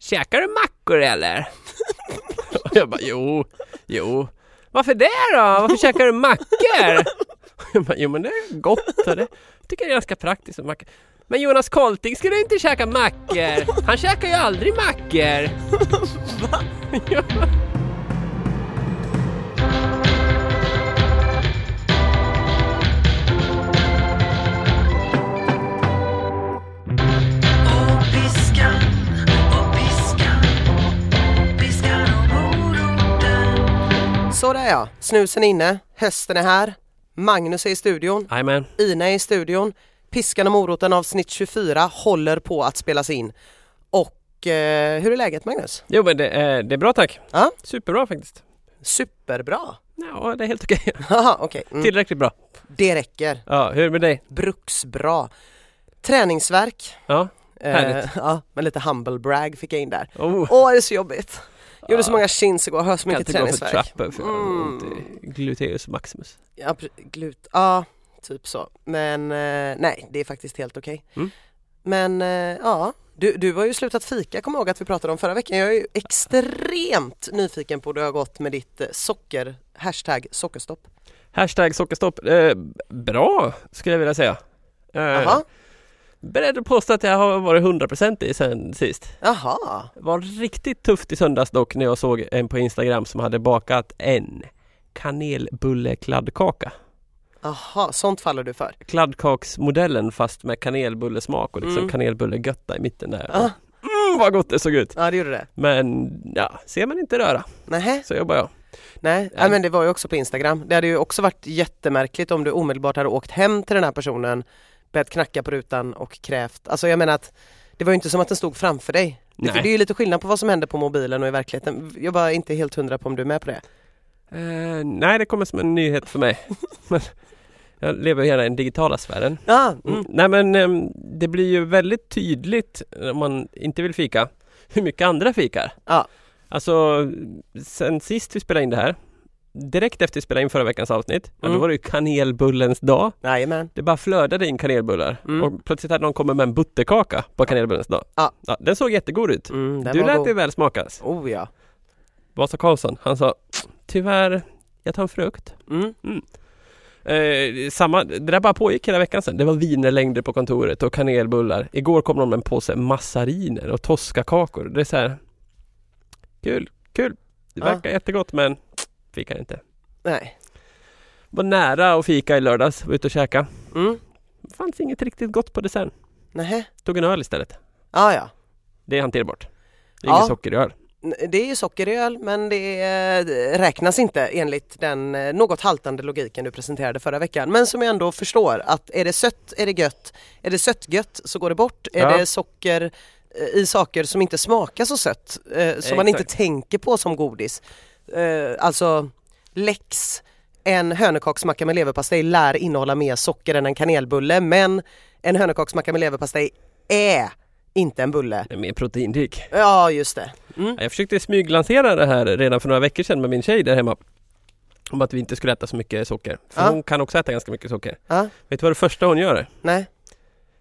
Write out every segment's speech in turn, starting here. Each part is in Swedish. Käkar du mackor eller? Och jag bara, jo, jo. Varför det då? Varför käkar du mackor? Och jag bara, jo men det är gott. Och det tycker jag är ganska praktiskt med mackor. Men Jonas Kolting skulle inte käka mackor. Han käkar ju aldrig mackor. Va? Ja. Och piskan, och piskan, piskan och moroten. Sådär ja, snusen är inne, hösten är här, Magnus är i studion, Jajamän. Ina är i studion, Piskan och moroten avsnitt 24 håller på att spelas in. Och eh, hur är läget Magnus? Jo men det, är- det är bra tack. Ja. Superbra faktiskt. Superbra! Ja, det är helt okej. Haha, okej. Mm, Tillräckligt bra. det räcker. Ja, hur är det med dig? Bruksbra. Träningsverk. Ja. Eh, Härligt. ja, men lite humble brag fick jag in där. Oh. Åh, det är så jobbigt. Gjorde så många chins igår, har så mycket Mm. kan inte gå för träningsvärk. trappor för jag har ont i gluteus maximus. Ja, pre- glut, ja typ så. Men eh, nej, det är faktiskt helt okej. Mm. Men eh, ja, du, du har ju slutat fika, kommer jag ihåg att vi pratade om förra veckan. Jag är ju extremt nyfiken på hur det har gått med ditt eh, socker, hashtag sockerstopp. Hashtag sockerstopp. Eh, bra skulle jag vilja säga. Eh, Jaha, beredd att påstå att jag har varit 100% i sen sist. jaha, Var riktigt tufft i söndags dock när jag såg en på Instagram som hade bakat en kanelbullekladdkaka. jaha, sånt faller du för. Kladdkaksmodellen fast med kanelbullesmak och liksom Mm. Ah. kanelbullegötta i mitten där. Ja, Mm, vad gott det såg ut! ja det gjorde det. Men ja, ser man inte röra Nähä, så jobbar jag. nej, ja, men det var ju också på Instagram. Det hade ju också varit jättemärkligt om du omedelbart hade åkt hem till den här personen, börjat knacka på rutan och krävt, alltså jag menar att det var ju inte som att den stod framför dig. Det, Nej. det är ju lite skillnad på vad som händer på mobilen och i verkligheten. Jag bara är inte helt hundra på om du är med på det. Eh, nej, det kommer som en nyhet för mig. men jag lever gärna i den digitala sfären. Ja, mm. Mm. Nej men ehm, det blir ju väldigt tydligt eh, om man inte vill fika hur mycket andra fikar. Ja. Alltså sen sist vi spelade in det här Direkt efter vi spelade in förra veckans avsnitt, ja, då Mm. var det ju kanelbullens dag. jajamän. Det bara flödade in kanelbullar Mm. och plötsligt hade någon kommit med en butterkaka på kanelbullens dag. Ja. den såg jättegod ut. Mm, den Du var lät god. det väl smakas. Oh ja. Vasa Karlsson, han sa Tyvärr, jag tar en frukt. Mm. Eh, samma, det där bara pågick hela veckan sen. Det var wienerlängder på kontoret och kanelbullar. Igår kom de med en påse massariner och toskakakor. Det är så här Kul, kul. Det Ja. verkar jättegott men fikar inte. Nej. Var nära att fika i lördags, var ute och käka. Mm. Fanns inget riktigt gott på desserten. Nähä. Tog en öl istället. Ja, ja. Det är hanterbart. Det är Ja. inget socker i öl. N- Det är ju sockeröl men det eh, räknas inte enligt den eh, något haltande logiken du presenterade förra veckan. Men som jag ändå förstår att är det sött är det gött. Är det söttgött så går det bort. Är Ja. det socker eh, i saker som inte smakar så sött, eh, som man inte Exakt. tänker på som godis. Eh, alltså lex, en hönökaksmacka med leverpastej lär innehålla mer socker än en kanelbulle men en hönökaksmacka med leverpastej är inte en bulle. Det är mer proteinrik. Ja just det. Mm. Jag försökte smyglansera det här redan för några veckor sedan med min tjej där hemma. Om att vi inte skulle äta så mycket socker. För Ja. hon kan också äta ganska mycket socker. Ja, Vet du vad det första hon gör? är? nej.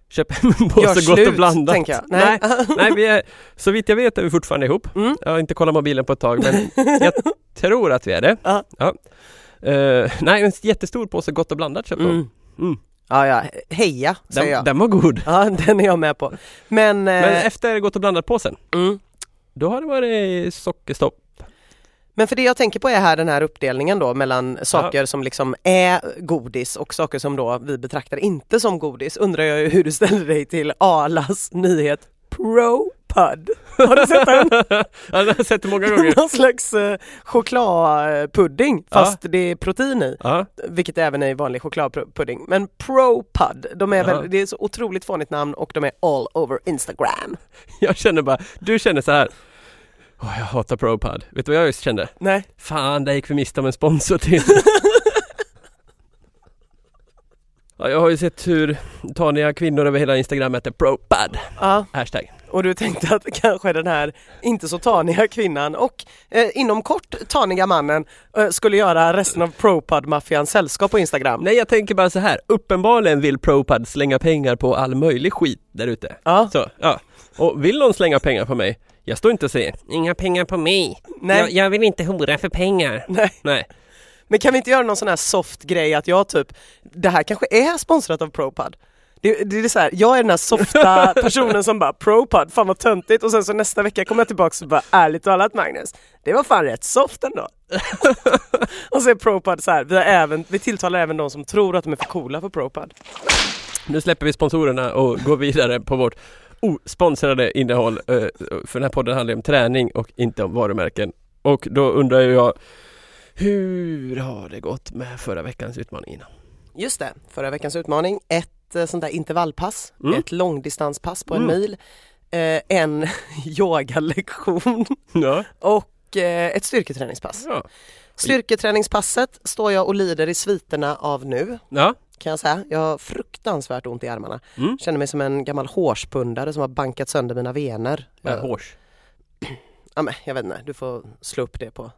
Köper hem en påse Gör Gott slut, och blandat. tänker jag. Nej. Nej, nej vi är, så vitt jag vet är vi fortfarande ihop. Mm. Jag har inte kollat mobilen på ett tag men jag tror att vi är det. Ja. Eh, nej, en jättestor påse Gott och blandat köpte hon. Mm. Mm. Ja, ja, heja säger Den, jag. Eh. den var god. Ja, den är jag med på. Men, Men men, efter Gott och blandat-påsen, mm. då har det varit sockerstopp. men för det jag tänker på är här den här uppdelningen då mellan saker som liksom är godis och saker som då vi betraktar inte som godis undrar jag ju hur du ställer dig till Arlas nyhet ProPud. Har du sett den? ja, den har jag sett många gånger. Någon slags eh, chokladpudding fast det är protein i. Ja. vilket även är i vanlig chokladpudding. Men ProPud, de är Ja. väl, det är så otroligt fånigt namn och de är all over Instagram. Jag känner bara, du känner så här. Åh, jag hatar ProPad. Vet du vad jag just kände? Nej. Fan, där gick vi miste om en sponsor till. ja, jag har ju sett hur taniga kvinnor över hela Instagram heter ProPad. Ja, Hashtag. och du tänkte att kanske den här inte så taniga kvinnan och eh, inom kort taniga mannen eh, skulle göra resten av ProPud-maffians sällskap på Instagram. Nej, jag tänker bara så här. Uppenbarligen vill ProPad slänga pengar på all möjlig skit där ute. Ja, Så, ja. Och vill någon slänga pengar på mig? Jag står inte och säger inga pengar på mig. Nej. Jag, jag vill inte hora för pengar. Nej. Nej. Men kan vi inte göra någon sån här soft grej att jag typ, det här kanske är sponsrat av Propad. Det, det är så här, jag är den här softa personen som bara Propad, fan vad töntigt och sen så nästa vecka kommer jag tillbaka och bara ärligt talat Magnus, det var fan rätt soft ändå. och så är Propad så här, vi, har även, vi tilltalar även de som tror att de är för coola för Propad. Nu släpper vi sponsorerna och går vidare på vårt osponsrade innehåll. eh, För den här podden handlar ju om träning och inte om varumärken. Och då undrar ju jag hur har det gått med förra veckans utmaning innan? Just det, förra veckans utmaning, ett eh, sånt där intervallpass, Mm. ett långdistanspass på en Mm. mil, eh, en yogalektion Ja. och eh, ett styrketräningspass. Ja. Styrketräningspasset står jag och lider i sviterna av nu ja. kan jag säga. Jag har fruktansvärt ont i armarna. Mm. Känner mig som en gammal hårspundare som har bankat sönder mina vener. Med Jag, Eh, hårs. ja, men, jag vet inte, du får slå upp det på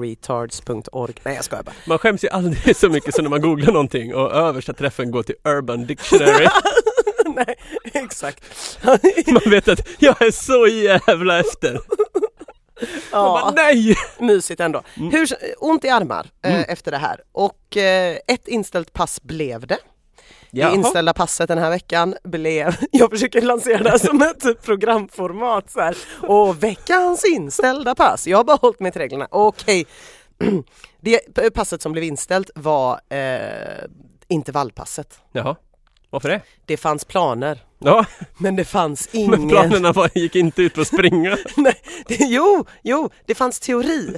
streetsmartsforretards.org. Nej jag skojar bara. Man skäms ju aldrig så mycket som när man googlar någonting och översta träffen går till Urban Dictionary. Nej, exakt. Man vet att jag är så jävla efter. Man bara, ja, nej! mysigt ändå. Mm. Hur, ont i armar eh, efter det här och eh, ett inställt pass blev det. Det Jaha. inställda passet den här veckan blev, jag försöker lansera det här som ett typ programformat så här. och veckans inställda pass, jag har bara hållit mig till reglerna. Okej, det p- passet som blev inställt var eh, intervallpasset. Jaha. Varför det? Det fanns planer, Ja, men det fanns men ingen... planerna var, gick inte ut på att springa. Nej, det, jo, jo, det fanns teori,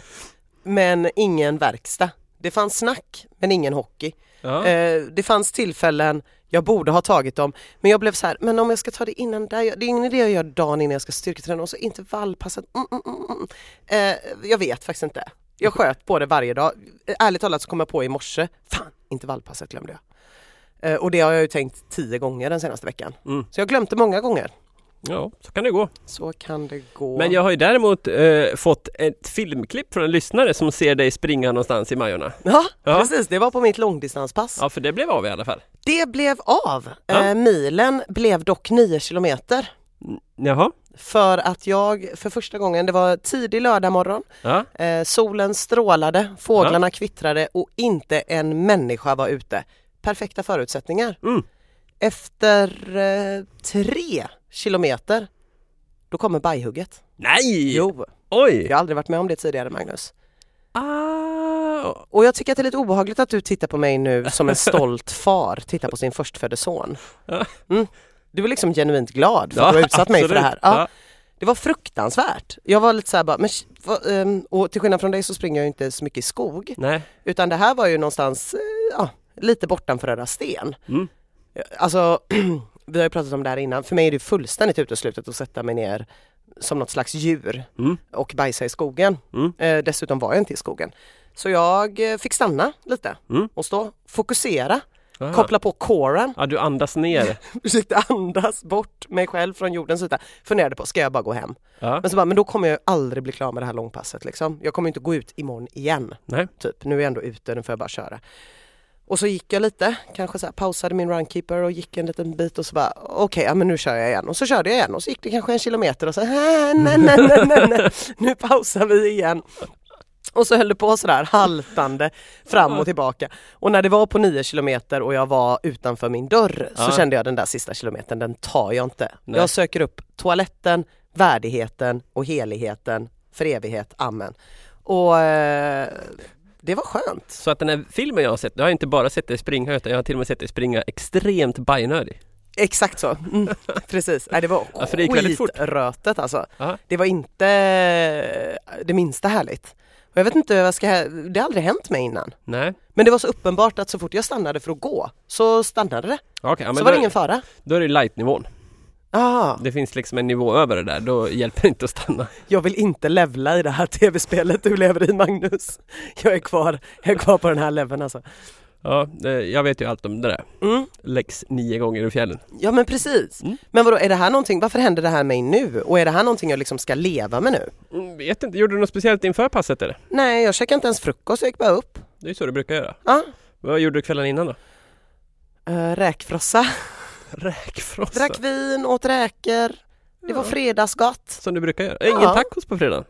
men ingen verkstad. Det fanns snack, men ingen hockey. Ja. Eh, det fanns tillfällen jag borde ha tagit dem, men jag blev så här, men om jag ska ta det innan där, jag- det är ingen idé jag gör dagen innan jag ska styrketräna och så intervallpasset, mm, mm, mm, mm. Eh, jag vet faktiskt inte. Jag sköt på det varje dag. Eh, Ärligt talat så kom jag på i morse, fan intervallpasset glömde jag. Eh, och det har jag ju tänkt tio gånger den senaste veckan. Mm. Så jag har glömt det många gånger. ja, så kan det gå. Så kan det gå. Men jag har ju däremot eh, fått ett filmklipp från en lyssnare som ser dig springa någonstans i Majorna. Ja, Ja. precis. Det var på mitt långdistanspass. Ja, för det blev av i alla fall. Det blev av. Ja. Eh, milen blev dock 9 kilometer. Jaha. För att jag för första gången, det var tidig lördag morgon, Ja. eh, solen strålade, fåglarna kvittrade och inte en människa var ute. Perfekta förutsättningar. Mm. Efter eh, tre kilometer, då kommer bajhugget. Nej! Jo, Oj! jag har aldrig varit med om det tidigare Magnus. Ah. Och jag tycker att det är lite obehagligt att du tittar på mig nu som en stolt far tittar på sin förstfödde son. Ja. Mm. Du är liksom genuint glad för att Ja, du har utsatt mig för det absolut. här. Ja. Ja. Det var fruktansvärt. Jag var lite så här bara, men, sh- vad, ehm, och till skillnad från dig så springer jag ju inte så mycket i skog. Nej. Utan det här var ju någonstans, eh, ja, lite bortanför Röda Sten. Mm. Alltså, vi har ju pratat om det här innan, för mig är det fullständigt uteslutet att sätta mig ner som något slags djur Mm. och bajsa i skogen. Mm. Eh, dessutom var jag inte i skogen. Så jag eh, fick stanna lite Mm. och stå, fokusera, Ah. koppla på coren, Ja, du andas ner. försökte andas bort mig själv från jordens yta. Funderade på, ska jag bara gå hem? Ja. Men så bara, men då kommer jag aldrig bli klar med det här långpasset liksom. Jag kommer inte gå ut imorgon igen. Nej. Typ, nu är jag ändå ute, nu får jag bara köra. Och så gick jag lite, kanske så här, pausade min runkeeper och gick en liten bit och så bara okej, ja, men nu kör jag igen. Och så körde jag igen och så gick det kanske en kilometer och så "Äh, nej, nej, nej, nej, nej, nu pausar vi igen. Och så höll det på sådär haltande fram och tillbaka. Och när det var på nio kilometer och jag var utanför min dörr så Ja. kände jag den där sista kilometern, den tar jag inte. Nej. Jag söker upp toaletten, värdigheten och heligheten för evighet, amen. Och eh, det var skönt. Så att den här filmen jag har sett, jag har inte bara sett dig springa utan jag har till och med sett dig springa extremt bajnödig. Exakt så, mm, precis. Nej, det var Ja, för det gick väldigt fort. skitrötet alltså. Ja. Det var inte eh, det minsta härligt. Och jag vet inte, vad jag ska, det har aldrig hänt mig innan. Nej. Men det var så uppenbart att så fort jag stannade för att gå så stannade det. Okay, ja, men så var det då- ingen fara. Då är det light-nivån. Ah, Det finns liksom en nivå över det där, då hjälper det inte att stanna. jag vill inte levla i det här tv-spelet du lever i Magnus. Jag är kvar, jag är kvar på den här leveln alltså. Ja, det, jag vet ju allt om det där. Mm. Läx nio gånger ur fjällen. Ja men precis. Mm. Men vadå, är det här någonting, varför händer det här mig nu? Och är det här någonting jag liksom ska leva med nu? Mm, Vet inte, gjorde du något speciellt inför passet eller? Nej, jag käkade inte ens frukost, jag gick bara upp. Det är ju så du brukar göra. Ja. Vad gjorde du kvällen innan då? Eh, räkfrossa, Räkfrossa. drack vin, åt räkor, Det var fredagsgott. Som du brukar göra. Ingen Ja. tacos på fredagen.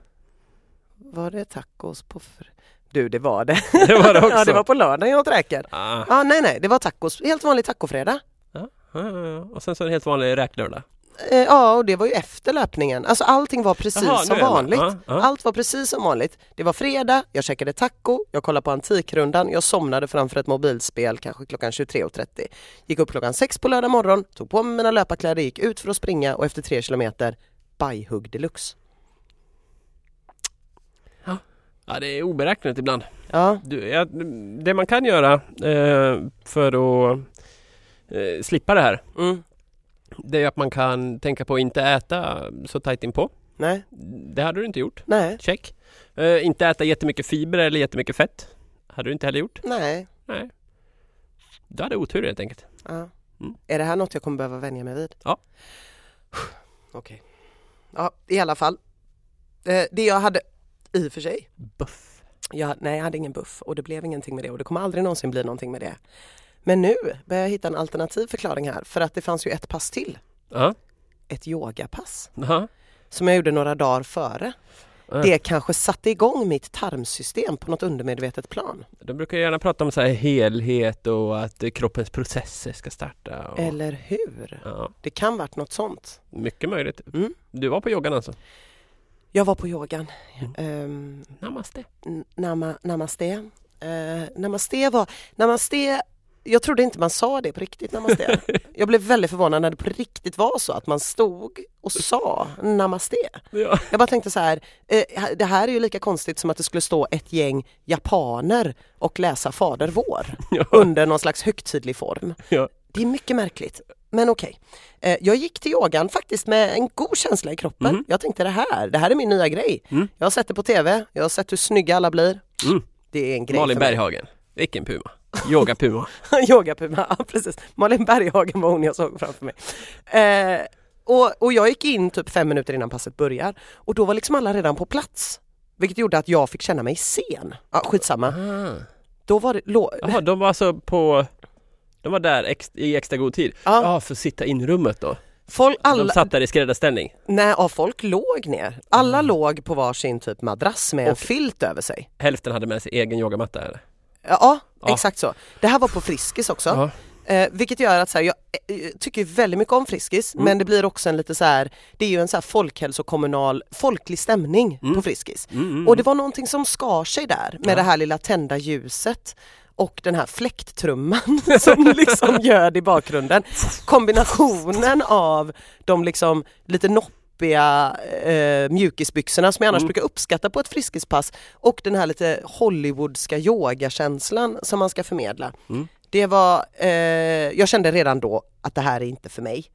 Var det tacos på fr... Du, det var det. Det var det också. ja, det var på lördagen jag åt räkor. Ah. Ja, nej, nej, det var tacos. Helt vanlig tacofredag. Ja, ja, ja. Och sen så en helt vanlig räklördag. Eh, Ja, och det var ju efter löpningen. Alltså allting var precis Jaha, nu som är jag med. vanligt. Ja, ja. Allt var precis som vanligt. Det var fredag, jag käkade taco, jag kollade på Antikrundan, jag somnade framför ett mobilspel kanske klockan 23.30. Gick upp klockan 6 på lördag morgon, tog på mig mina löparkläder, gick ut för att springa och efter tre kilometer bajhugg deluxe. Ja, det är oberäkneligt ibland. Ja, Du, ja, det man kan göra eh, för att eh, slippa det här, mm. det är att man kan tänka på att inte äta så tajt inpå. nej, Det hade du inte gjort. nej, Check. Eh, inte äta jättemycket fibrer eller jättemycket fett. Hade du inte heller gjort. nej. Du hade otur helt enkelt. Ja. Mm. Är det här något jag kommer behöva vänja mig vid? Ja. Okej. Ja, i alla fall. Eh, Det jag hade, i och för sig, Buff. Jag, nej, jag hade ingen buff och det blev ingenting med det och det kommer aldrig någonsin bli någonting med det. Men nu börjar jag hitta en alternativ förklaring här för att det fanns ju ett pass till. Ja. Ett yogapass Ja. som jag gjorde några dagar före. Ja. Det kanske satte igång mitt tarmsystem på något undermedvetet plan. De brukar gärna prata om så här helhet och att eh, kroppens processer ska starta. Och, Eller hur? ja, Det kan varit något sånt. mycket möjligt. Mm. Du var på yogan alltså? Jag var på yogan. Ehm, Namaste. n- nama, namaste. Eh, namaste var... Namaste, jag trodde inte man sa det på riktigt, namaste. jag blev väldigt förvånad när det på riktigt var så att man stod och sa namaste. Ja. Jag bara tänkte så här, eh, det här är ju lika konstigt som att det skulle stå ett gäng japaner och läsa Fader vår Ja. under någon slags högtidlig form. Ja. Det är mycket märkligt. Men okej, eh, jag gick till yogan faktiskt med en god känsla i kroppen. Mhm. Jag tänkte det här, det här är min nya grej. Mm. Jag har sett det på tv, jag har sett hur snygga alla blir. Mm. Det är en grej Malin för mig. Berghagen. Vilken puma. Yoga-puma. Yogapuma, ja, precis. Malin Berghagen var hon jag såg framför mig. Eh, och, och jag gick in typ fem minuter innan passet börjar och då var liksom alla redan på plats. Vilket gjorde att jag fick känna mig sen. Ja, skitsamma. Ah. Då var det... Lo- Jaha, de var alltså på... De var där ex, i extra god tid? Ja. Ja, för att sitta in rummet då? folk, De alla, satt där i skräddarställning? nej, ja, folk låg ner. Alla låg på varsin typ madrass med en Mm. Och- filt över sig. Hälften hade med sig egen yogamatta eller? Ja, ja, Ja. exakt så. Det här var på Friskis också. Eh, vilket gör att så här, jag eh, tycker ju väldigt mycket om Friskis Mm. men det blir också en lite så här, det är ju en så här folkhälsokommunal, folklig stämning Mm. på Friskis. Och det var någonting som skar sig där med det här lilla tända ljuset och den här fläkttrumman som liksom ljöd i bakgrunden. Kombinationen av de liksom lite noppiga eh, mjukisbyxorna som jag annars brukar uppskatta på ett friskispass och den här lite Hollywoodska yogakänslan som man ska förmedla. Det var, eh, jag kände redan då att det här är inte för mig.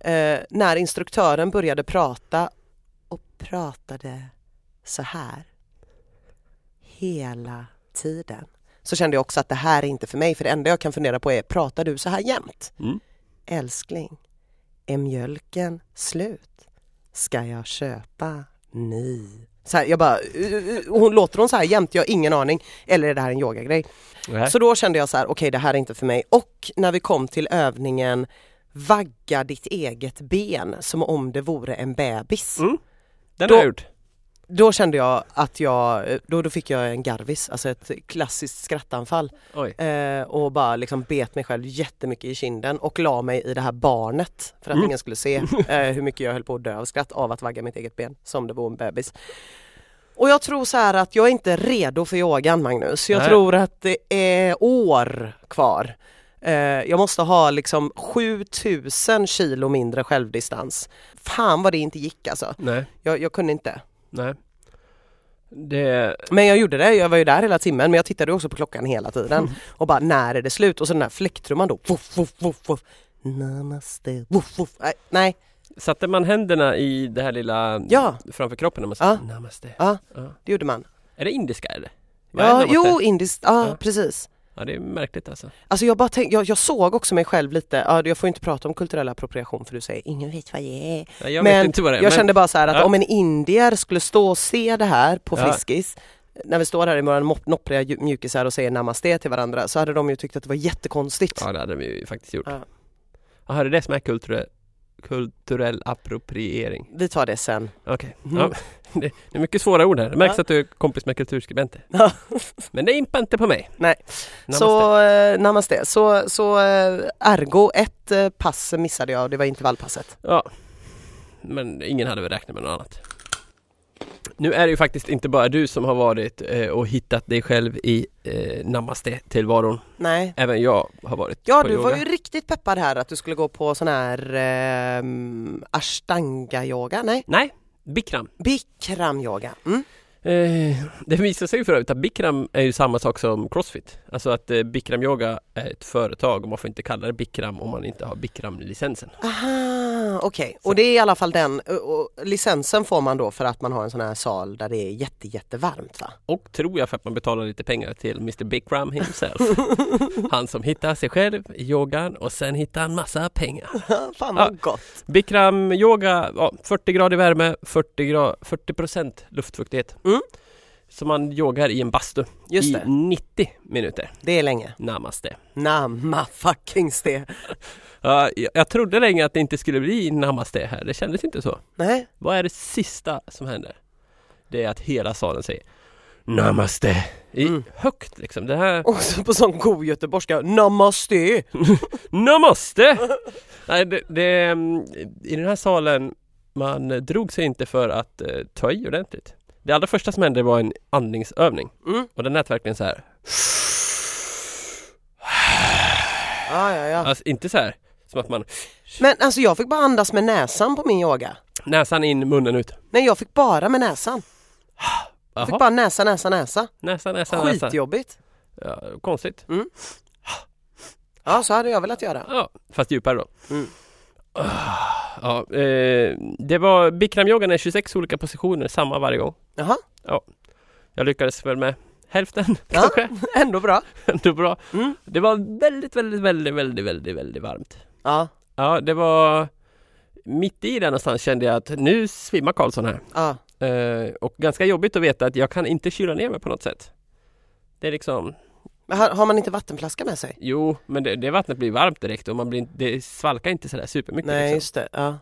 Eh, när instruktören började prata och pratade så här hela tiden så kände jag också att det här är inte för mig för det enda jag kan fundera på är pratar du så här jämt? Mm. Älskling, är mjölken slut? Ska jag köpa ny? Så här, jag bara, "Uh, uh, uh." hon låter hon så här jämt? Jag har ingen aning. Eller är det här en yogagrej? Nej. Så då kände jag så här, okej det här är inte för mig. Och när vi kom till övningen Vagga ditt eget ben som om det vore en bebis. Mm. Den Då- har jag gjort. Då kände jag att jag, då, då fick jag en garvis, alltså ett klassiskt skrattanfall. Oj. Eh, och bara liksom bet mig själv jättemycket i kinden och la mig i det här barnet för att ingen skulle se eh, hur mycket jag höll på att dö av skratt av att vagga mitt eget ben som det vore en bebis. Och jag tror så här att jag är inte redo för yogan Magnus. Jag Nej. tror att det är år kvar. Eh, jag måste ha liksom 7000 kilo mindre självdistans. Fan vad det inte gick alltså. Nej, Jag, jag kunde inte. nej. Det... Men jag gjorde det, jag var ju där hela timmen men jag tittade också på klockan hela Mm. tiden och bara när är det slut? Och så den där fläkttrumman då, voff, voff, voff, voff. Namaste, voff, voff. Nej, Nej, Satte man händerna i det här lilla ja framför kroppen när man Ja. sa namaste? Ja. Ja. det gjorde man. Är det indiska eller? Vad är Ja, namaste? jo indiskt, ja, Ja. precis. Ja, det är märkligt alltså. Alltså jag, bara tänk, jag, jag såg också mig själv lite, ja, jag får ju inte prata om kulturell appropriation för du säger ingen vet vad det är. Ja, Jag Men vet inte vad det är. Jag kände bara så här att Ja. om en indier skulle stå och se det här på Ja. Friskis när vi står här i våra mop- noppriga ju- mjukisar och säger namaste till varandra så hade de ju tyckt att det var jättekonstigt. Ja, det hade de ju faktiskt gjort. Ja. Jaha, det är det som är kulturell, kulturell appropriering. Vi tar det sen. Okej. Mm. Ja, det, det är mycket svåra ord här. Det märks Ja. att du är kompis med kulturskribenter. Ja. Men det impar inte på mig. Nej. Namaste. Så eh, namaste. Så, så eh, ergo ett eh, pass missade jag och det var intervallpasset. Ja. Men ingen hade väl räknat med något annat. Nu är det ju faktiskt inte bara du som har varit eh, och hittat dig själv i eh, Namaste-tillvaron. Nej. Även jag har varit Ja, på du yoga. var ju riktigt peppad här att du skulle gå på sån här eh, ashtanga-yoga, nej, Nej, Bikram. bikram-yoga. Mm. Eh, det visar sig ju för övrigt att Bikram är ju samma sak som Crossfit. Alltså att eh, Bikram Yoga är ett företag och man får inte kalla det Bikram om man inte har Bikram-licensen. Aha, okej. Och det är i alla fall den, eh, och, och licensen får man då för att man har en sån här sal där det är jätte, jättevarmt va? Och tror jag för att man betalar lite pengar till Mr Bikram himself. han som hittar sig själv i yogan och sen hittar han massa pengar. Fan Ja. vad gott. Bikram yoga, ja, 40 grader värme, 40, gra- 40 luftfuktighet. Mm. Så man yogar i en bastu Just i det. 90 minuter. Det är länge. Namaste. Namma fucking ste. Ja, jag, jag trodde länge att det inte skulle bli namaste här, det kändes inte så. Nej, Vad är det sista som händer? Det är att hela salen säger Namaste! I, Mm. Högt liksom, det här och så på sån god göteborgska, namaste. Namaste! Nej, det, det, mm, I den här salen, man drog sig inte för att eh, ta i ordentligt. Det allra första som hände var en andningsövning Mm. och den lät verkligen så här. Ja, ja, ja. Alltså inte så här som att man Men alltså jag fick bara andas med näsan på min yoga. näsan in, munnen ut. Nej, jag fick bara med näsan. Jag fick Jaha, bara näsa, näsa, näsa. näsa, näsa, näsa. Skitjobbigt. Ja, konstigt. Ja, så hade jag velat göra. Ja, fast djupare då. Mm. Ah, Ja, eh, det var Bikramyogan är 26 olika positioner, samma varje gång. Jaha, Jag lyckades väl med hälften Ja. kanske. ändå bra. Ändå bra. Mm. Det var väldigt, väldigt, väldigt, väldigt, väldigt, väldigt varmt. Ja, Ja, det var mitt i det någonstans kände jag att nu svimmar Karlsson här. ja. Eh, och ganska jobbigt att veta att jag kan inte kyla ner mig på något sätt. Det är liksom, Men har, har man inte vattenflaska med sig? jo, men det, det vattnet blir varmt direkt och man blir, inte- det svalkar inte sådär supermycket. Nej, liksom. just det. Ja.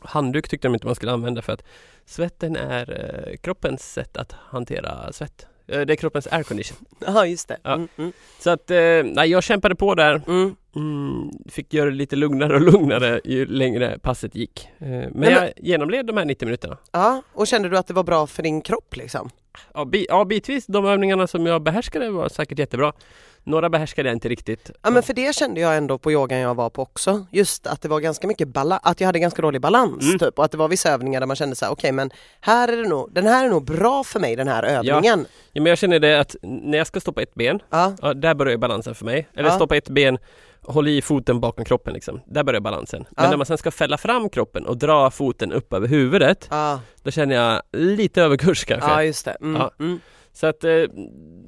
Handduk tyckte de inte man skulle använda för att svetten är eh, kroppens sätt att hantera svett. Eh, det är kroppens aircondition. ja, just det. Ja. Mm, mm, Så att, eh, nej, jag kämpade på där. mm. Mm, fick göra det lite lugnare och lugnare ju längre passet gick. Eh, men, men- jag genomled de här 90 minuterna. ja, och kände du att det var bra för din kropp liksom? Ja, bi- ja, bitvis de övningarna som jag behärskade var säkert jättebra. Några behärskade jag inte riktigt. Ja, men för det kände jag ändå på yogan jag var på också. Just att det var ganska mycket bala- att jag hade ganska dålig balans Mm. typ och att det var vissa övningar där man kände så här, okej men här är det nog, den här är nog bra för mig den här övningen. Ja, men jag känner det att när jag ska stå på ett ben, Ja, ja, där börjar balansen för mig. Eller Ja. stå på ett ben, håll i foten bakom kroppen liksom. Där börjar balansen. Men Ja. när man sen ska fälla fram kroppen och dra foten upp över huvudet, ja, då känner jag lite överkurs kanske. ja just det. Mm, Ja. mm. Så att, eh,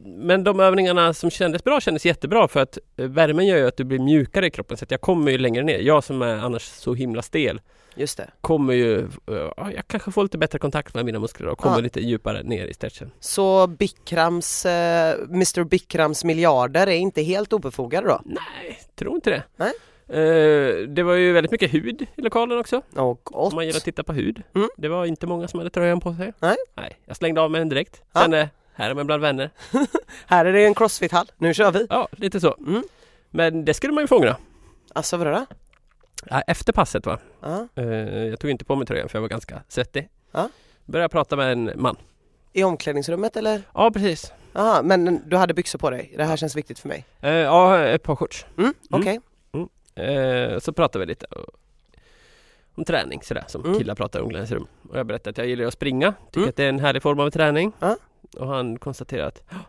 men de övningarna som kändes bra kändes jättebra för att eh, värmen gör ju att du blir mjukare i kroppen så att jag kommer ju längre ner. Jag som är annars så himla stel Just det. kommer ju, eh, ja, jag kanske får lite bättre kontakt med mina muskler och kommer Ja. lite djupare ner i stretchen. Så Bikrams, eh, Mr Bikrams miljarder är inte helt obefogade då? Nej, tror inte det. Nej. Eh, det var ju väldigt mycket hud i lokalen också. Åh Om man gillar att gott. titta på hud. Mm. Det var inte många som hade tröjan på sig. Nej. Nej jag slängde av mig den direkt. Ja. Sen, eh, här är man bland vänner. Här är det en crossfit-hall, nu kör vi. Ja, lite så. Mm. Men det skulle man ju fånga. Alltså vadå då? Ja, efter passet va? Ja. Eh, jag tog inte på mig tröjan för jag var ganska svettig. Ja. Började prata med en man. I omklädningsrummet eller? Ja, precis. Ja, men du hade byxor på dig, det här känns viktigt för mig. Eh, ja, ett par shorts. Mm, okej. Eh, så pratade vi lite eh, om träning sådär som Mm. killar pratar i omklädningsrum. Och jag berättade att jag gillar att springa. Tycker Mm. att det är en härlig form av träning. Ja. Och han konstaterade att "Ja,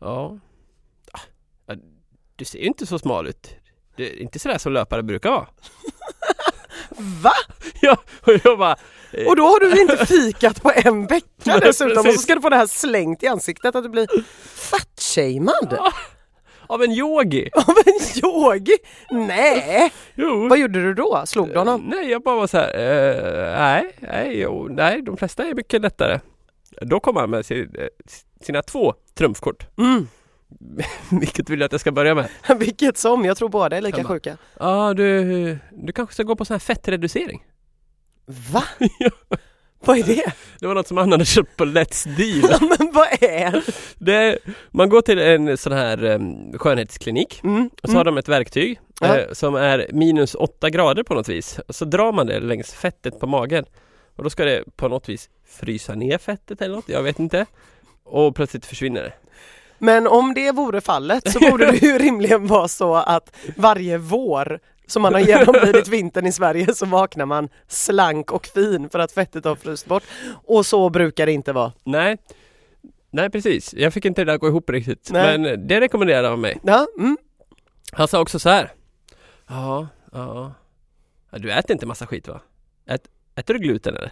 ja, ja, du ser ju inte så smal ut. Det är inte sådär som löpare brukar vara. Va? ja, och jag bara Och då har du inte fikat på en vecka Nej, dessutom och så precis. ska du få det här slängt i ansiktet att du blir fatshamead av en yogi. av en yogi. Nej, Jo. vad gjorde du då? Slog du honom? Eh, Nej, jag bara var så här, eh, nej, nej, jo, nej, de flesta är mycket lättare. Då kom han med sin, eh, sina två trumfkort, Mm. vilket vill jag att jag ska börja med. Vilket som, jag tror båda är lika Hemma. sjuka. Ja, du, du kanske ska gå på sån här fettreducering? Va? Vad är det? Det var något som han hade köpt på Let's Deal. Ja, men vad är det? Det är, man går till en sån här em, skönhetsklinik Mm, och så har mm. de ett verktyg Ja. eh, som är minus 8 grader på något vis. Och så drar man det längs fettet på magen och då ska det på något vis frysa ner fettet eller något, jag vet inte. Och plötsligt försvinner det. Men om det vore fallet så borde det ju rimligen vara så att varje vår som man har genomlidit vintern i Sverige så vaknar man slank och fin för att fettet har fryst bort. Och så brukar det inte vara. Nej, nej precis. Jag fick inte det där att gå ihop riktigt. Nej. Men det rekommenderar han mig. Ja, mm. Han sa också så här. Ja, ja. ja du äter inte massa skit va? Ät, äter du gluten eller?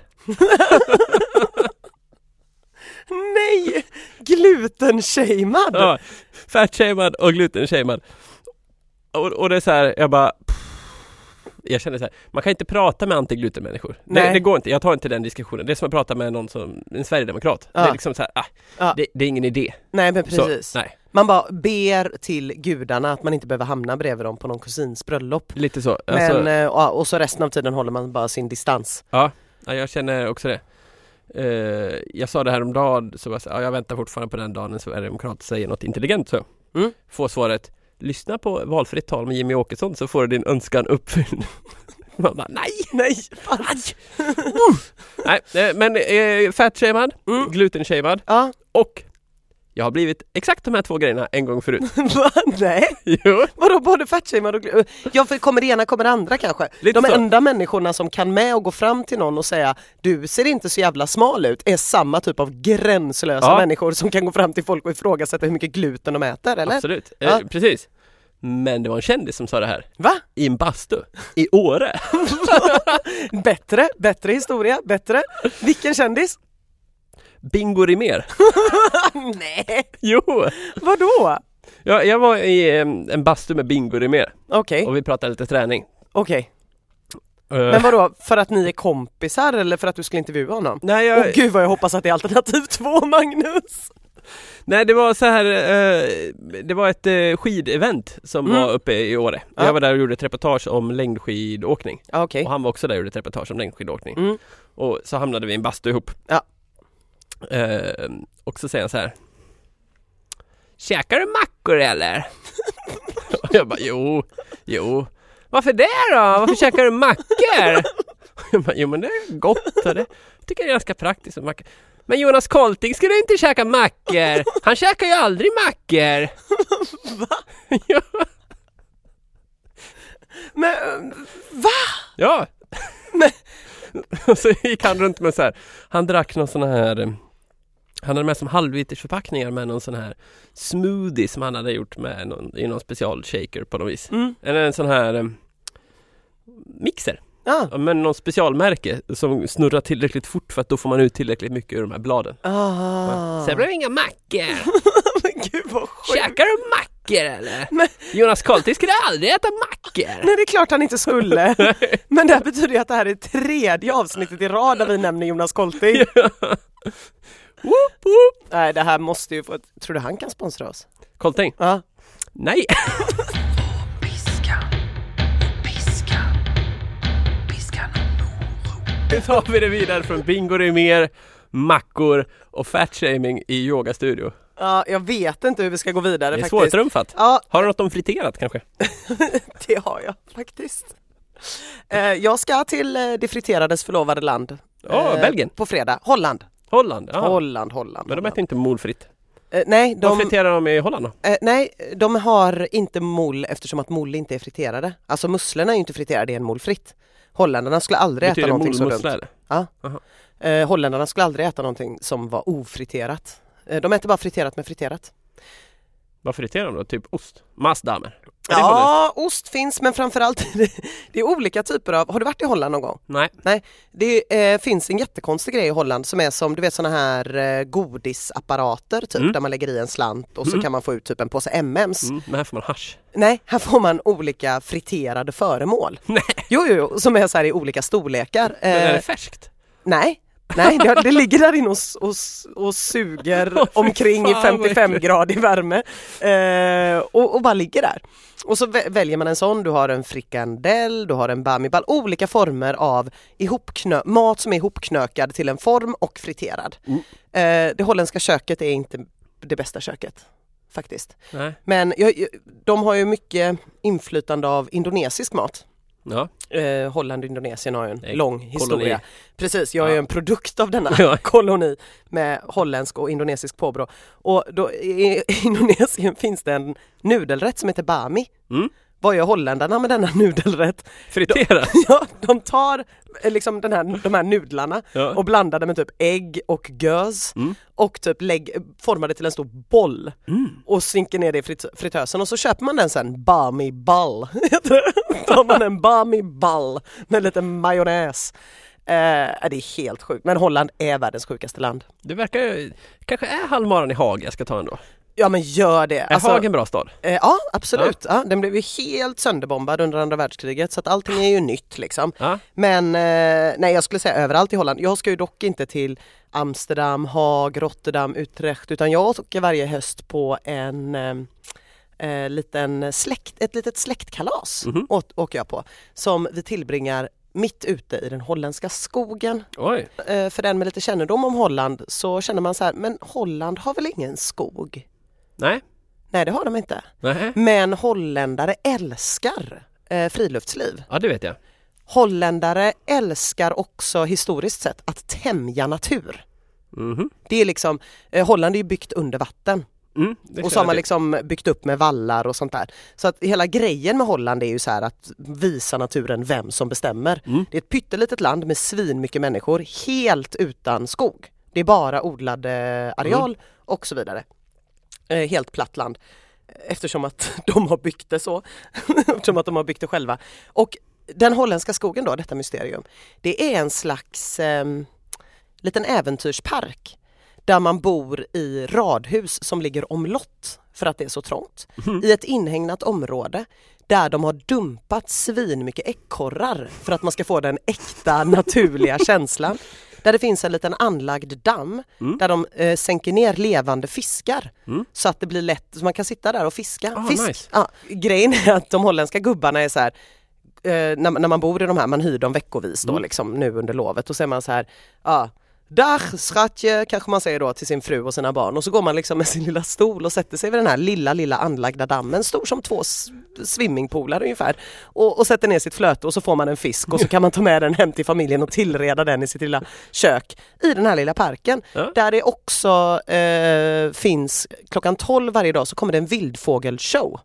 Nej! Glutenshamead! Ja, fatshamead och glutenshamead. Och, och det är så här, jag bara jag känner så här, man kan inte prata med antiglutenmänniskor. Det, Nej. det går inte, jag tar inte den diskussionen. Det är som att prata med någon som, en sverigedemokrat. Ja. Det är liksom så här, ah, Ja. det, det är ingen idé. Nej men Så, precis. nej, Man bara ber till gudarna att man inte behöver hamna bredvid dem på någon kusins bröllop. lite så. Men, Alltså, eh, ja, och så resten av tiden håller man bara sin distans. ja, jag känner också det. Eh, jag sa det här om dagen, så var jag, så här, ja, jag väntar fortfarande på den dagen en sverigedemokrat säger något intelligent. Så. Mm. Får svaret, lyssna på valfritt tal med Jimmy Åkesson så får du din önskan uppfylld. Man bara, nej! Nej! Nej, eh, men eh, fatshamead, Mm. glutenshamead Ja, och jag har blivit exakt de här två grejerna en gång förut. va? Nej! jo, Vadå både fatshamead och glu- Ja för kommer det ena kommer det andra kanske. Lite de så. enda människorna som kan med och gå fram till någon och säga du ser inte så jävla smal ut är samma typ av gränslösa Ja. människor som kan gå fram till folk och ifrågasätta hur mycket gluten de äter eller? absolut. Ja. Eh, precis. Men det var en kändis som sa det här Va? i en bastu i Åre. Bättre, bättre historia, bättre. Vilken kändis? Ah, Bingo Rimér. Nej! Jo, Vadå? jag, jag var i eh, en bastu med Bingo Rimér Okej, och vi pratade lite träning. okej. Eh, Eh. Men vadå, för att ni är kompisar eller för att du skulle intervjua honom? nej, Åh jag, gud vad jag hoppas att det är alternativ två Magnus! nej, det var så här, eh, det var ett eh, skidevent som Mm. var uppe i Åre. Ja. Jag var där och gjorde ett reportage om längdskidåkning. Ja okej. Och han var också där och gjorde ett reportage om längdskidåkning. Mm. Och så hamnade vi i en bastu ihop. Ja. Ehm, och så säger han så här. Käkar du mackor eller? och jag bara jo, jo. Varför det då? Varför käkar du mackor? jag bara, jo men det är gott och det tycker jag är ganska praktiskt med mackor. Men Jonas Kolting skulle inte käka mackor. Han käkar ju aldrig mackor. Va? ja. Men eh, va? Ja! Och så gick han runt med så här. Han drack någon sån här eh, han hade med som halvlitersförpackningar med någon sån här smoothie som han hade gjort med någon, i någon special shaker på något vis. Mm. Eller en sån här eh, mixer, Ja. Ja, men någon specialmärke som snurrar tillräckligt fort för att då får man ut tillräckligt mycket ur de här bladen. Ah. Sen blev det inga mackor! Men gud vad sjukt! Käkar du mackor eller? Men- Jonas Karlqvist skulle aldrig äta mackor! Nej det är klart han inte skulle. Men det här betyder ju att det här är tredje avsnittet i rad där vi nämner Jonas Kolting. Woop, woop. Nej det här måste ju få ett... Tror du han kan sponsra oss? Kolting? Ja. Nej! Piskan, piskan, piskan och moroten. Nu tar vi det vidare från Bingo mer mackor och fatshaming i yogastudio. Ja, jag vet inte hur vi ska gå vidare Det är faktiskt. svårtrumfat. Ja, Har du något om friterat kanske? det har jag faktiskt. Eh, Jag ska till eh, det friterades förlovade land. Ja, Eh, Belgien. På fredag. Holland. Holland? Ja. Holland, Holland. Men de Holland. äter inte molfritt. Eh, nej, Vad de, friterar de i Holland då? eh, nej, de har inte mol eftersom att mol inte är friterade. Alltså musslorna är ju inte friterade i en mol fritt. Holländarna skulle aldrig äta Betyder någonting så molmussla dumt. eller? Ja. Aha. Eh, holländarna skulle aldrig äta någonting som var ofriterat. Eh, de äter bara friterat med friterat. Vad friterar de då? Typ ost? Massdamer? Är det holländskt? Ja, ost finns men framförallt det är olika typer av, har du varit i Holland någon gång? Nej. Nej, det eh, finns en jättekonstig grej i Holland som är som du vet såna här eh, godisapparater typ Mm. där man lägger i en slant och så Mm. kan man få ut typ en påse MMs. Mm, men här får man hasch. Nej, här får man olika friterade föremål. Nej. Jo, jo, jo, som är så här i olika storlekar. Men är Eh, det färskt? nej, Nej, det, det ligger där inne och, s- och, s- och suger Åh, fy omkring i fan, vad 55 äckligt. gradig värme eh, och, och bara ligger där. Och så vä- väljer man en sån, du har en frikandell, du har en bamiball, olika former av ihopknö- mat som är ihopknökad till en form och friterad. Mm. Eh, det holländska köket är inte det bästa köket faktiskt. Nej. Men jag, jag- de har ju mycket inflytande av indonesisk mat. Ja. Eh, Holland och Indonesien har ju en Eh, lång historia. Precis, jag är Ja. ju en produkt av denna Ja. koloni med holländsk och indonesisk påbrå. Och då, i i Indonesien finns det en nudelrätt som heter bami. Mm. Vad gör holländarna med denna nudelrätt? Fritera. Ja, de tar eh, liksom den här, de här nudlarna Ja. och blandar det med typ ägg och gös Mm. och typ lägg, formar det till en stor boll och sinker ner det i frit, fritösen och så köper man den sen, bami ball. heter det. tar man en bami ball med lite majonnäs. Eh, det är helt sjukt, men Holland är världens sjukaste land. Det verkar ju... Kanske är halvmaran i Haag jag ska ta ändå. Ja men gör det! Är Alltså, Haag en bra stad? Eh, ja absolut, ja. den blev ju helt sönderbombad under andra världskriget så att allting är ju nytt liksom. Ja. Men eh, nej jag skulle säga överallt i Holland. Jag ska ju dock inte till Amsterdam, Haag, Rotterdam, Utrecht utan jag åker varje höst på en eh, eh, liten släkt, ett litet släktkalas åt, åker jag på som vi tillbringar mitt ute i den holländska skogen. Oj. Eh, för den med lite kännedom om Holland så känner man så här, men Holland har väl ingen skog? Nej. Nej det har de inte. Nej. Men holländare älskar eh, friluftsliv. Ja, det vet jag. Holländare älskar också historiskt sett att tämja natur. Mhm. Det är liksom, eh, Holland är ju byggt under vatten Mm, det och känner så har jag man till. liksom byggt upp med vallar och sånt där. Så att hela grejen med Holland är ju så här att visa naturen vem som bestämmer. Mm. Det är ett pyttelitet land med svin mycket människor helt utan skog. Det är bara odlad eh, areal Mm. och så vidare. Eh, helt platt land. Eftersom att de har byggt det så. Eftersom att de har byggt det själva. Och den holländska skogen då, detta mysterium, det är en slags ehm, liten äventyrspark där man bor i radhus som ligger omlott för att det är så trångt. Mhm. I ett inhägnat område där de har dumpat svinmycket ekorrar för att man ska få den äkta naturliga känslan. Där det finns en liten anlagd damm Mm. där de eh, sänker ner levande fiskar så att det blir lätt, så man kan sitta där och fiska. Ah, Fisk. nice. Ja, grejen är att de holländska gubbarna är så här eh, när, när man bor i de här, man hyr dem veckovis då liksom nu under lovet och så är man så här, ja Dach, schratje, kanske man säger då till sin fru och sina barn och så går man liksom med sin lilla stol och sätter sig vid den här lilla, lilla anlagda dammen, stor som två s- swimmingpoolar ungefär och, och sätter ner sitt flöte och så får man en fisk och så kan man ta med den hem till familjen och tillreda den i sitt lilla kök i den här lilla parken. Ja. Där det också eh, finns, klockan 12 varje dag så kommer det en vildfågelshow.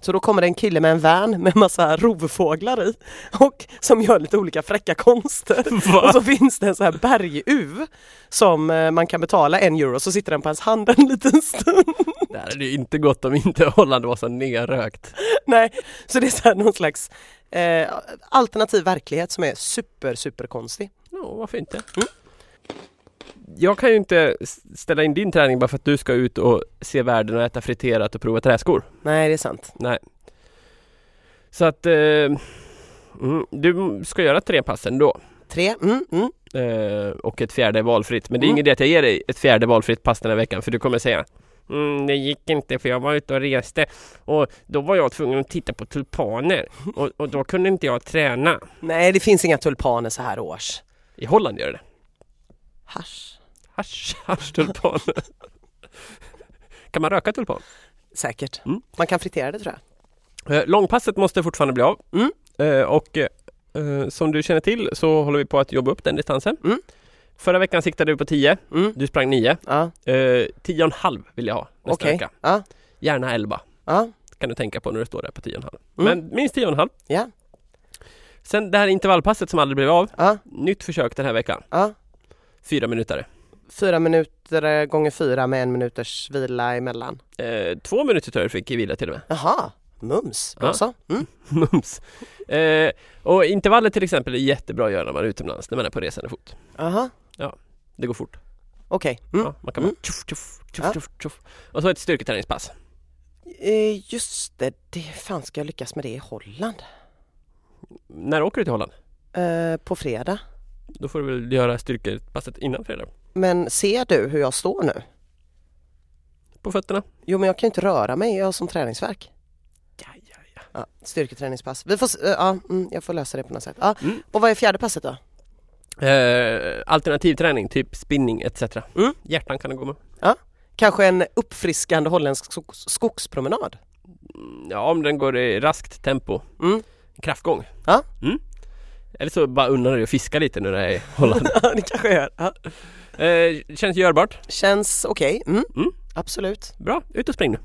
Så då kommer det en kille med en van med massa rovfåglar i och som gör lite olika fräcka konster. Va? Och så finns det en sån här berguv som eh, man kan betala en euro så sitter den på ens hand en liten stund. Det här hade ju inte gått om inte Holland var så nerrökt. Nej, så det är så här någon slags eh, alternativ verklighet som är super super konstig. Ja, varför inte? Mm. Jag kan ju inte s- ställa in din träning bara för att du ska ut och se världen och äta friterat och prova träskor. Nej det är sant. Nej. Så att eh, mm, du ska göra tre pass ändå. Tre, mm, mm. Eh, och ett fjärde valfritt. Men det är Mm. ingen idé att jag ger dig ett fjärde valfritt pass den här veckan för du kommer säga Mm, det gick inte för jag var ute och reste och då var jag tvungen att titta på tulpaner och, och då kunde inte jag träna. Nej det finns inga tulpaner så här års. I Holland gör det. Hasch. Hasch, hasch tulpan. kan man röka tulpan? Säkert. Mm. Man kan fritera det tror jag. Eh, Långpasset måste fortfarande bli av. Mm. Eh, Och eh, som du känner till så håller vi på att jobba upp den distansen. Mm. Förra veckan siktade du på 10. Mm. Du sprang Eh, 9. Ja, 10,5 vill jag ha nästa okej. vecka. Ja, Gärna 11 ja, kan du tänka på när du står där på 10,5. Mm. Men minst 10,5. ja, Sen det här intervallpasset som aldrig blev av. ja, Nytt försök den här veckan. ja. Fyra minuter. Fyra minuter eh, gånger fyra med en minuters vila emellan. Eh, två minuter tror jag du fick i vila till och med. Jaha, mums. Bra Ja. så. Mm. Mums. Eh, och intervaller till exempel är jättebra att göra när man är utomlands, när man är på resande fot. Aha, Det går fort. okej. Mm. Ja, man kan bara Mm. tjoff, tjoff, Ja. tjoff, tjoff, tjoff. Och så ett styrketräningspass. Eh, just det, det fan ska jag lyckas med det i Holland? När åker du till Holland? Eh, på fredag. Då får du väl göra styrkepasset innan fredag. Men ser du hur jag står nu? På fötterna. Jo men jag kan ju inte röra mig, jag har som träningsverk. Ja, ja, ja. Ja, styrketräningspass. Vi får, s- eh, ja, mm, jag får lösa det på något sätt. Ja. Mm. Och vad är fjärde passet då? Eh, alternativträning, typ spinning etc. Mm. Hjärtan kan det gå med. Kanske en uppfriskande holländsk skogs- skogspromenad? Mm, Ja, om den går i raskt tempo. Mm. Kraftgång. Ja. Mm. Eller så bara unnar du dig att fiska lite nu när jag är i Holland. Ja, det kanske jag gör. Ja. eh, känns görbart. Känns okej. Mm. Mm. Absolut. Bra, ut och spring nu.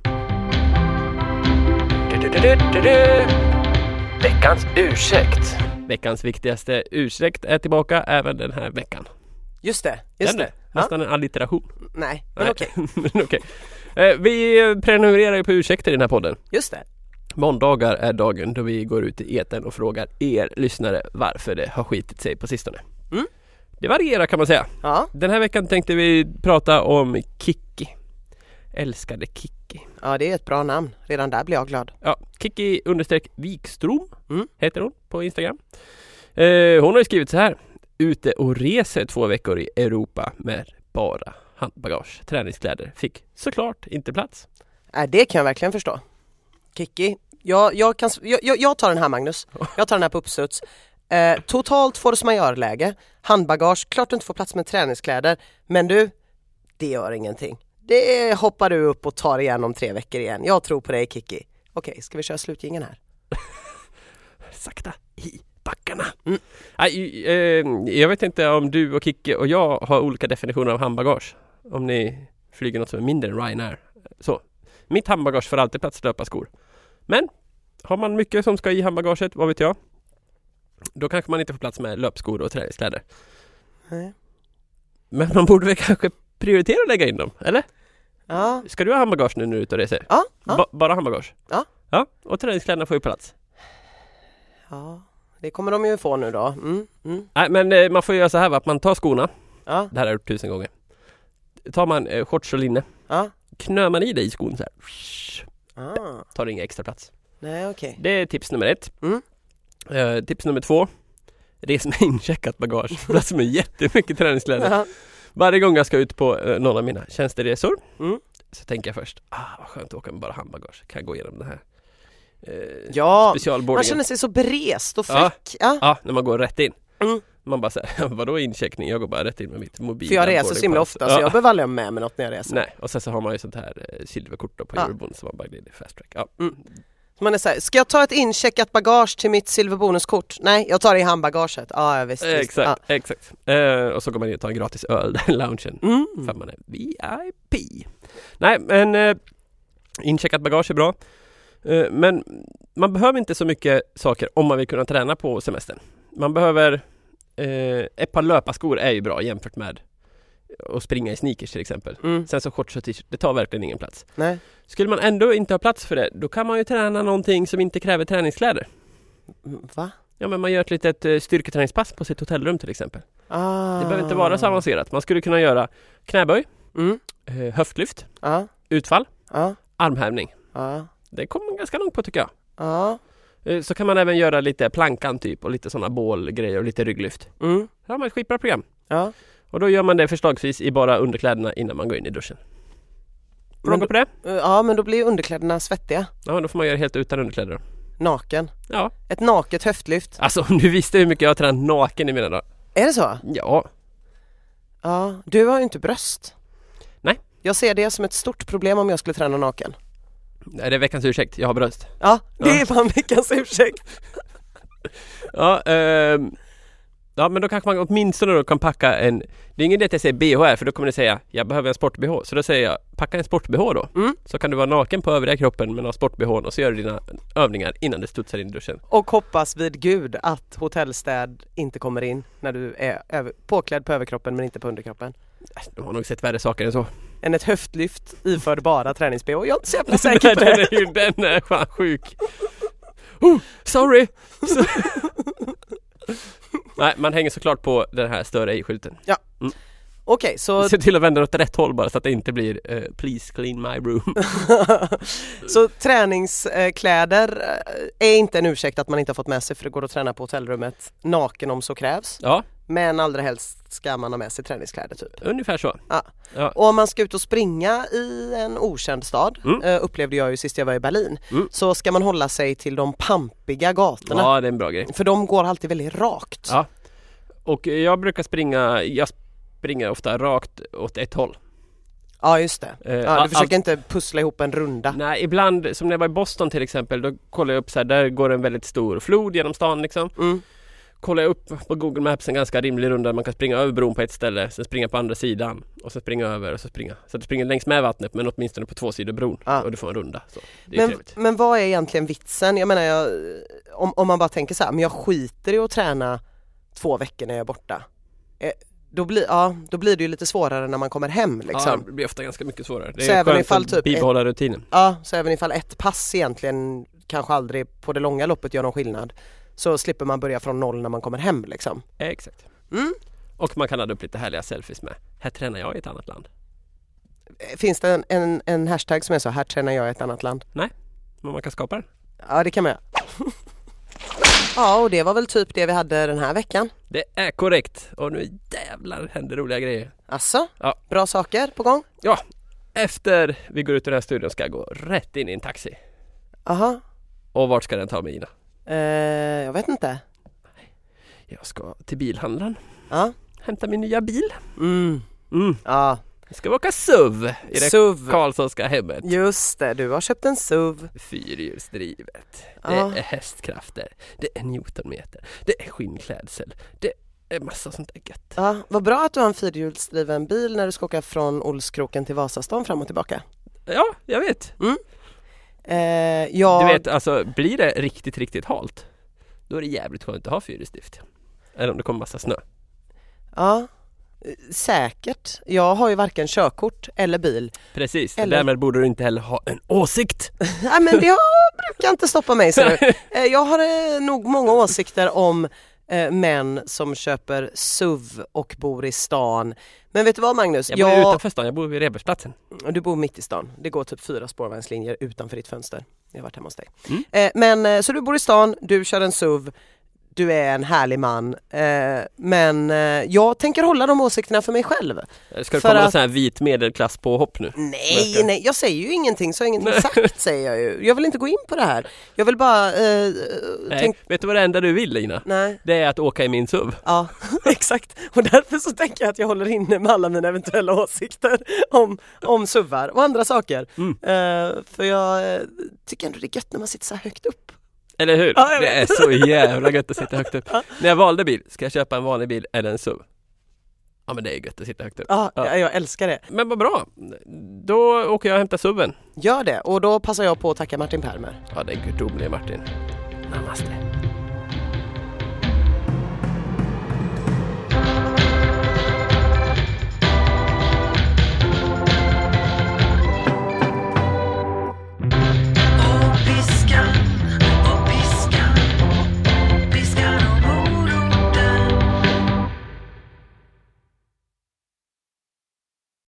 Veckans ursäkt. Veckans viktigaste ursäkt är tillbaka även den här veckan. Just det. Just Känner det. du? Nästan en allitteration. Nej, men Nej. okej. Men okej. Eh, vi prenumererar ju på ursäkter i den här podden. Just det. Måndagar är dagen då vi går ut i etern och frågar er lyssnare varför det har skitit sig på sistone. Mm. Det varierar kan man säga. Ja, Den här veckan tänkte vi prata om Kikki. Älskade Kikki. ja det är ett bra namn. Redan där blir jag glad. Ja, Kikki understreck Wikström Mm. heter hon på Instagram. Eh, hon har ju skrivit så här. Ute och reser två veckor i Europa med bara handbagage. Träningskläder fick såklart inte plats. Äh, det kan jag verkligen förstå. Kiki, jag, jag, kan, s- jag, jag, jag tar den här Magnus. Jag tar den här på uppstuds. Eh, totalt force majeure-läge, handbagage, klart du inte får plats med träningskläder. Men du, det gör ingenting. Det hoppar du upp och tar igen om tre veckor igen. Jag tror på dig Kiki. Okej, ska vi köra slutgingen här? sakta i backarna. Mm. Nej, eh, jag vet inte om du och Kicke och jag har olika definitioner av handbagage. Om ni flyger något som är mindre än Ryanair. Så. Mitt handbagage får alltid plats löparskor. Men har man mycket som ska i handbagaget, vad vet jag? Då kanske man inte får plats med löpskor och träningskläder. Nej. Men man borde väl kanske prioritera att lägga in dem, eller? Ja, Ska du ha handbagage nu när du är ute och reser? ja, ja. Ba- bara handbagage? Ja. Ja, och träningskläderna får ju plats. ja. Det kommer de ju få nu då. Mm, mm, Nej, men eh, man får göra så här va, att man tar skorna ja, Det här har jag gjort tusen gånger. Tar man eh, shorts och linne, ja. knör man i det i skon så här. Ah, Tar ingen extra plats. nej okej. Det är tips nummer ett. Mm. Eh, tips nummer två. Res med incheckat bagage. Plats med jättemycket träningskläder. Ja. Varje gång jag ska ut på eh, någon av mina tjänsteresor Mm. så tänker jag först, ah vad skönt att åka med bara handbagage. Kan jag gå igenom den här eh, Ja, man specialboardingen. känner sig så berest och Ja. fräck. Ja. Ja, när man går rätt in. Mm. Man bara såhär, vadå incheckning? Jag går bara rätt in med mitt mobil. För jag reser så himla ofta så jag behöver aldrig ha med mig något när jag reser. Nej, och sen så har man ju sånt här eh, silverkort då på Ja. Eurobond som man bara glider fast track. Ja. Man är så här, ska jag ta ett incheckat bagage till mitt silverbonuskort? Nej, jag tar det i handbagaget. Ja, ja visst. visst. Ja. Exakt, exakt. Eh, och så går man in och tar en gratis öl där i loungen Mm. för att man är VIP. Nej, men eh, incheckat bagage är bra. Eh, men man behöver inte så mycket saker om man vill kunna träna på semestern. Man behöver, eh, ett par löparskor är ju bra jämfört med att springa i sneakers till exempel. Mm. Sen så shorts och t-shirt, det tar verkligen ingen plats. Nej, Skulle man ändå inte ha plats för det, då kan man ju träna någonting som inte kräver träningskläder. Mm, va? Ja men man gör ett litet eh, styrketräningspass på sitt hotellrum till exempel. Ah. Det behöver inte vara så avancerat. Man skulle kunna göra knäböj, Mm. eh, höftlyft, Ja, utfall, ja, armhävning. ja, Det kommer man ganska långt på tycker jag. ja. Eh, Så kan man även göra lite plankan typ och lite sådana bålgrejer och lite rygglyft. Mm. Då har man ett skitbra program. Ja. Och då gör man det förslagsvis i bara underkläderna innan man går in i duschen. Frågor Men- på det? Eh, ja, men då blir ju underkläderna svettiga. Ja, då får man göra helt utan underkläder. då. Naken. Ja, Ett naket höftlyft. alltså om du visste hur mycket jag har tränat naken i mina dagar. Är det så? Ja, Ja, du har ju inte bröst. Nej. Jag ser det som ett stort problem om jag skulle träna naken. Nej, det är veckans ursäkt. Jag har bröst. Ja, det Ja. är fan veckans ursäkt. Ja, ehm, ja men då kanske man åtminstone då kan packa en Det är ingen idé att jag säger bh här för då kommer ni säga Jag behöver en sport-bh Så då säger jag packa en sport-bh då Mm. Så kan du vara naken på övriga kroppen men ha sport-bhn och så gör du dina övningar innan du studsar in i duschen Och hoppas vid gud att hotellstäd inte kommer in när du är över, påklädd på överkroppen men inte på underkroppen. Alltså, De har nog sett värre saker än så Än ett höftlyft iförd bara tränings-bh. Jag är inte så jävla säker på Den det. är ju den är fan sjuk oh, Sorry! Så... Nej man hänger såklart på den här större i-skylten Okej, så, Se till att vända åt rätt håll bara så att det inte blir eh, “Please clean my room”. så träningskläder eh, är inte en ursäkt att man inte har fått med sig för det går att träna på hotellrummet naken om så krävs. Ja, Men allra helst ska man ha med sig träningskläder typ. ungefär så. Ja. Ja. Och om man ska ut och springa i en okänd stad, Mm. eh, upplevde jag ju sist jag var i Berlin, Mm. så ska man hålla sig till de pampiga gatorna. Ja, det är en bra grej. För de går alltid väldigt rakt. Ja. Och jag brukar springa, jag springer ofta rakt åt ett håll. Ja, just det. Eh, Ja, du all- försöker inte pussla ihop en runda. Nej, ibland, som när jag var i Boston till exempel, då kollar jag upp så här, där går en väldigt stor flod genom stan liksom. Mm. Kollar jag upp på Google Maps en ganska rimlig runda, man kan springa över bron på ett ställe, sen springa på andra sidan och sen springa över och så springa. Så att du springer längs med vattnet men åtminstone på två sidor bron Ja. och du får en runda. Så. Det är Men, trevligt. men vad är egentligen vitsen? Jag menar, jag, om, om man bara tänker så här, men jag skiter i att träna två veckor när jag är borta. Eh, då, blir, ja, då blir det ju lite svårare när man kommer hem Ja, liksom. det blir ofta ganska mycket svårare. Det Så är även skönt ifall att typ- bibehålla rutinen. Ja, så även ifall ett pass egentligen kanske aldrig på det långa loppet gör någon skillnad så slipper man börja från noll när man kommer hem liksom. Eh, Exakt. Mm. Och man kan ladda upp lite härliga selfies med. Här tränar jag i ett annat land. Eh, Finns det en, en, en hashtag som är så här tränar jag i ett annat land? Men man kan skapa den. Ja, det kan man göra. Ja, och det var väl typ det vi hade den här veckan. Det är korrekt. Och nu jävlar händer roliga grejer. Alltså, Ja. bra saker på gång? Ja, efter vi går ut ur den här studion ska jag gå rätt in i en taxi. Aha. Och vart ska den ta mig Ina? Eh, jag vet inte. Jag ska till bilhandlaren, Ja. hämta min nya bil. Mm. Mm. Ja. Jag ska åka SUV i det SUV. Karlssonska hemmet. Just det, du har köpt en SUV. Fyrhjulsdrivet. Ja. Det är hästkrafter. Det är newtonmeter. Det är skinnklädsel. Det är massa sånt där gött. Ja, vad bra att du har en fyrhjulsdriven bil när du ska åka från Olskroken till Vasastan fram och tillbaka. Ja, jag vet. Eh, ja, Du vet, alltså blir det riktigt, riktigt halt, då är det jävligt skönt att ha fyrhjulsdrift. Eller om det kommer massa snö. ja, eh, säkert. Jag har ju varken körkort eller bil. Precis, Eller- därmed borde du inte heller ha en åsikt. Nej men det har, brukar inte stoppa mig ser du. Eh, jag har eh, nog många åsikter om eh, män som köper SUV och bor i stan. Men vet du vad Magnus? Jag bor ju utanför stan, jag bor vid Rebergsplatsen. Och Du bor mitt i stan. Det går typ fyra spårvagnslinjer utanför ditt fönster. Jag har varit hemma hos dig. Mm. Eh, men eh, så du bor i stan, du kör en SUV, du är en härlig man. Eh, men eh, jag tänker hålla de åsikterna för mig själv. Ska det För komma att- någon sån här vit medelklass påhopp nu? Nej, Verkar. nej, jag säger ju ingenting så jag har ingenting sagt säger jag ju. Jag vill inte gå in på det här. Jag vill bara... Eh, eh, Nej, tänk- vet du vad det enda du vill Lina? nej. Det är att åka i min SUV. Ja, exakt. Och därför så tänker jag att jag håller inne med alla mina eventuella åsikter om, om suvar och andra saker. Mm. Eh, för jag eh, tycker ändå det är gött när man sitter så här högt upp. Eller hur? Ja, jag det är vet. så jävla gött att sitta högt upp. När jag valde bil, ska jag köpa en vanlig bil eller en SUV? Ja men det är gött att sitta högt upp. Ja, Ja. ja. jag älskar det. Men vad bra! Då åker jag och hämtar SUVen. Gör det och då passar jag på att tacka Martin Permer. Ja, det är gudomlig Martin. Namaste.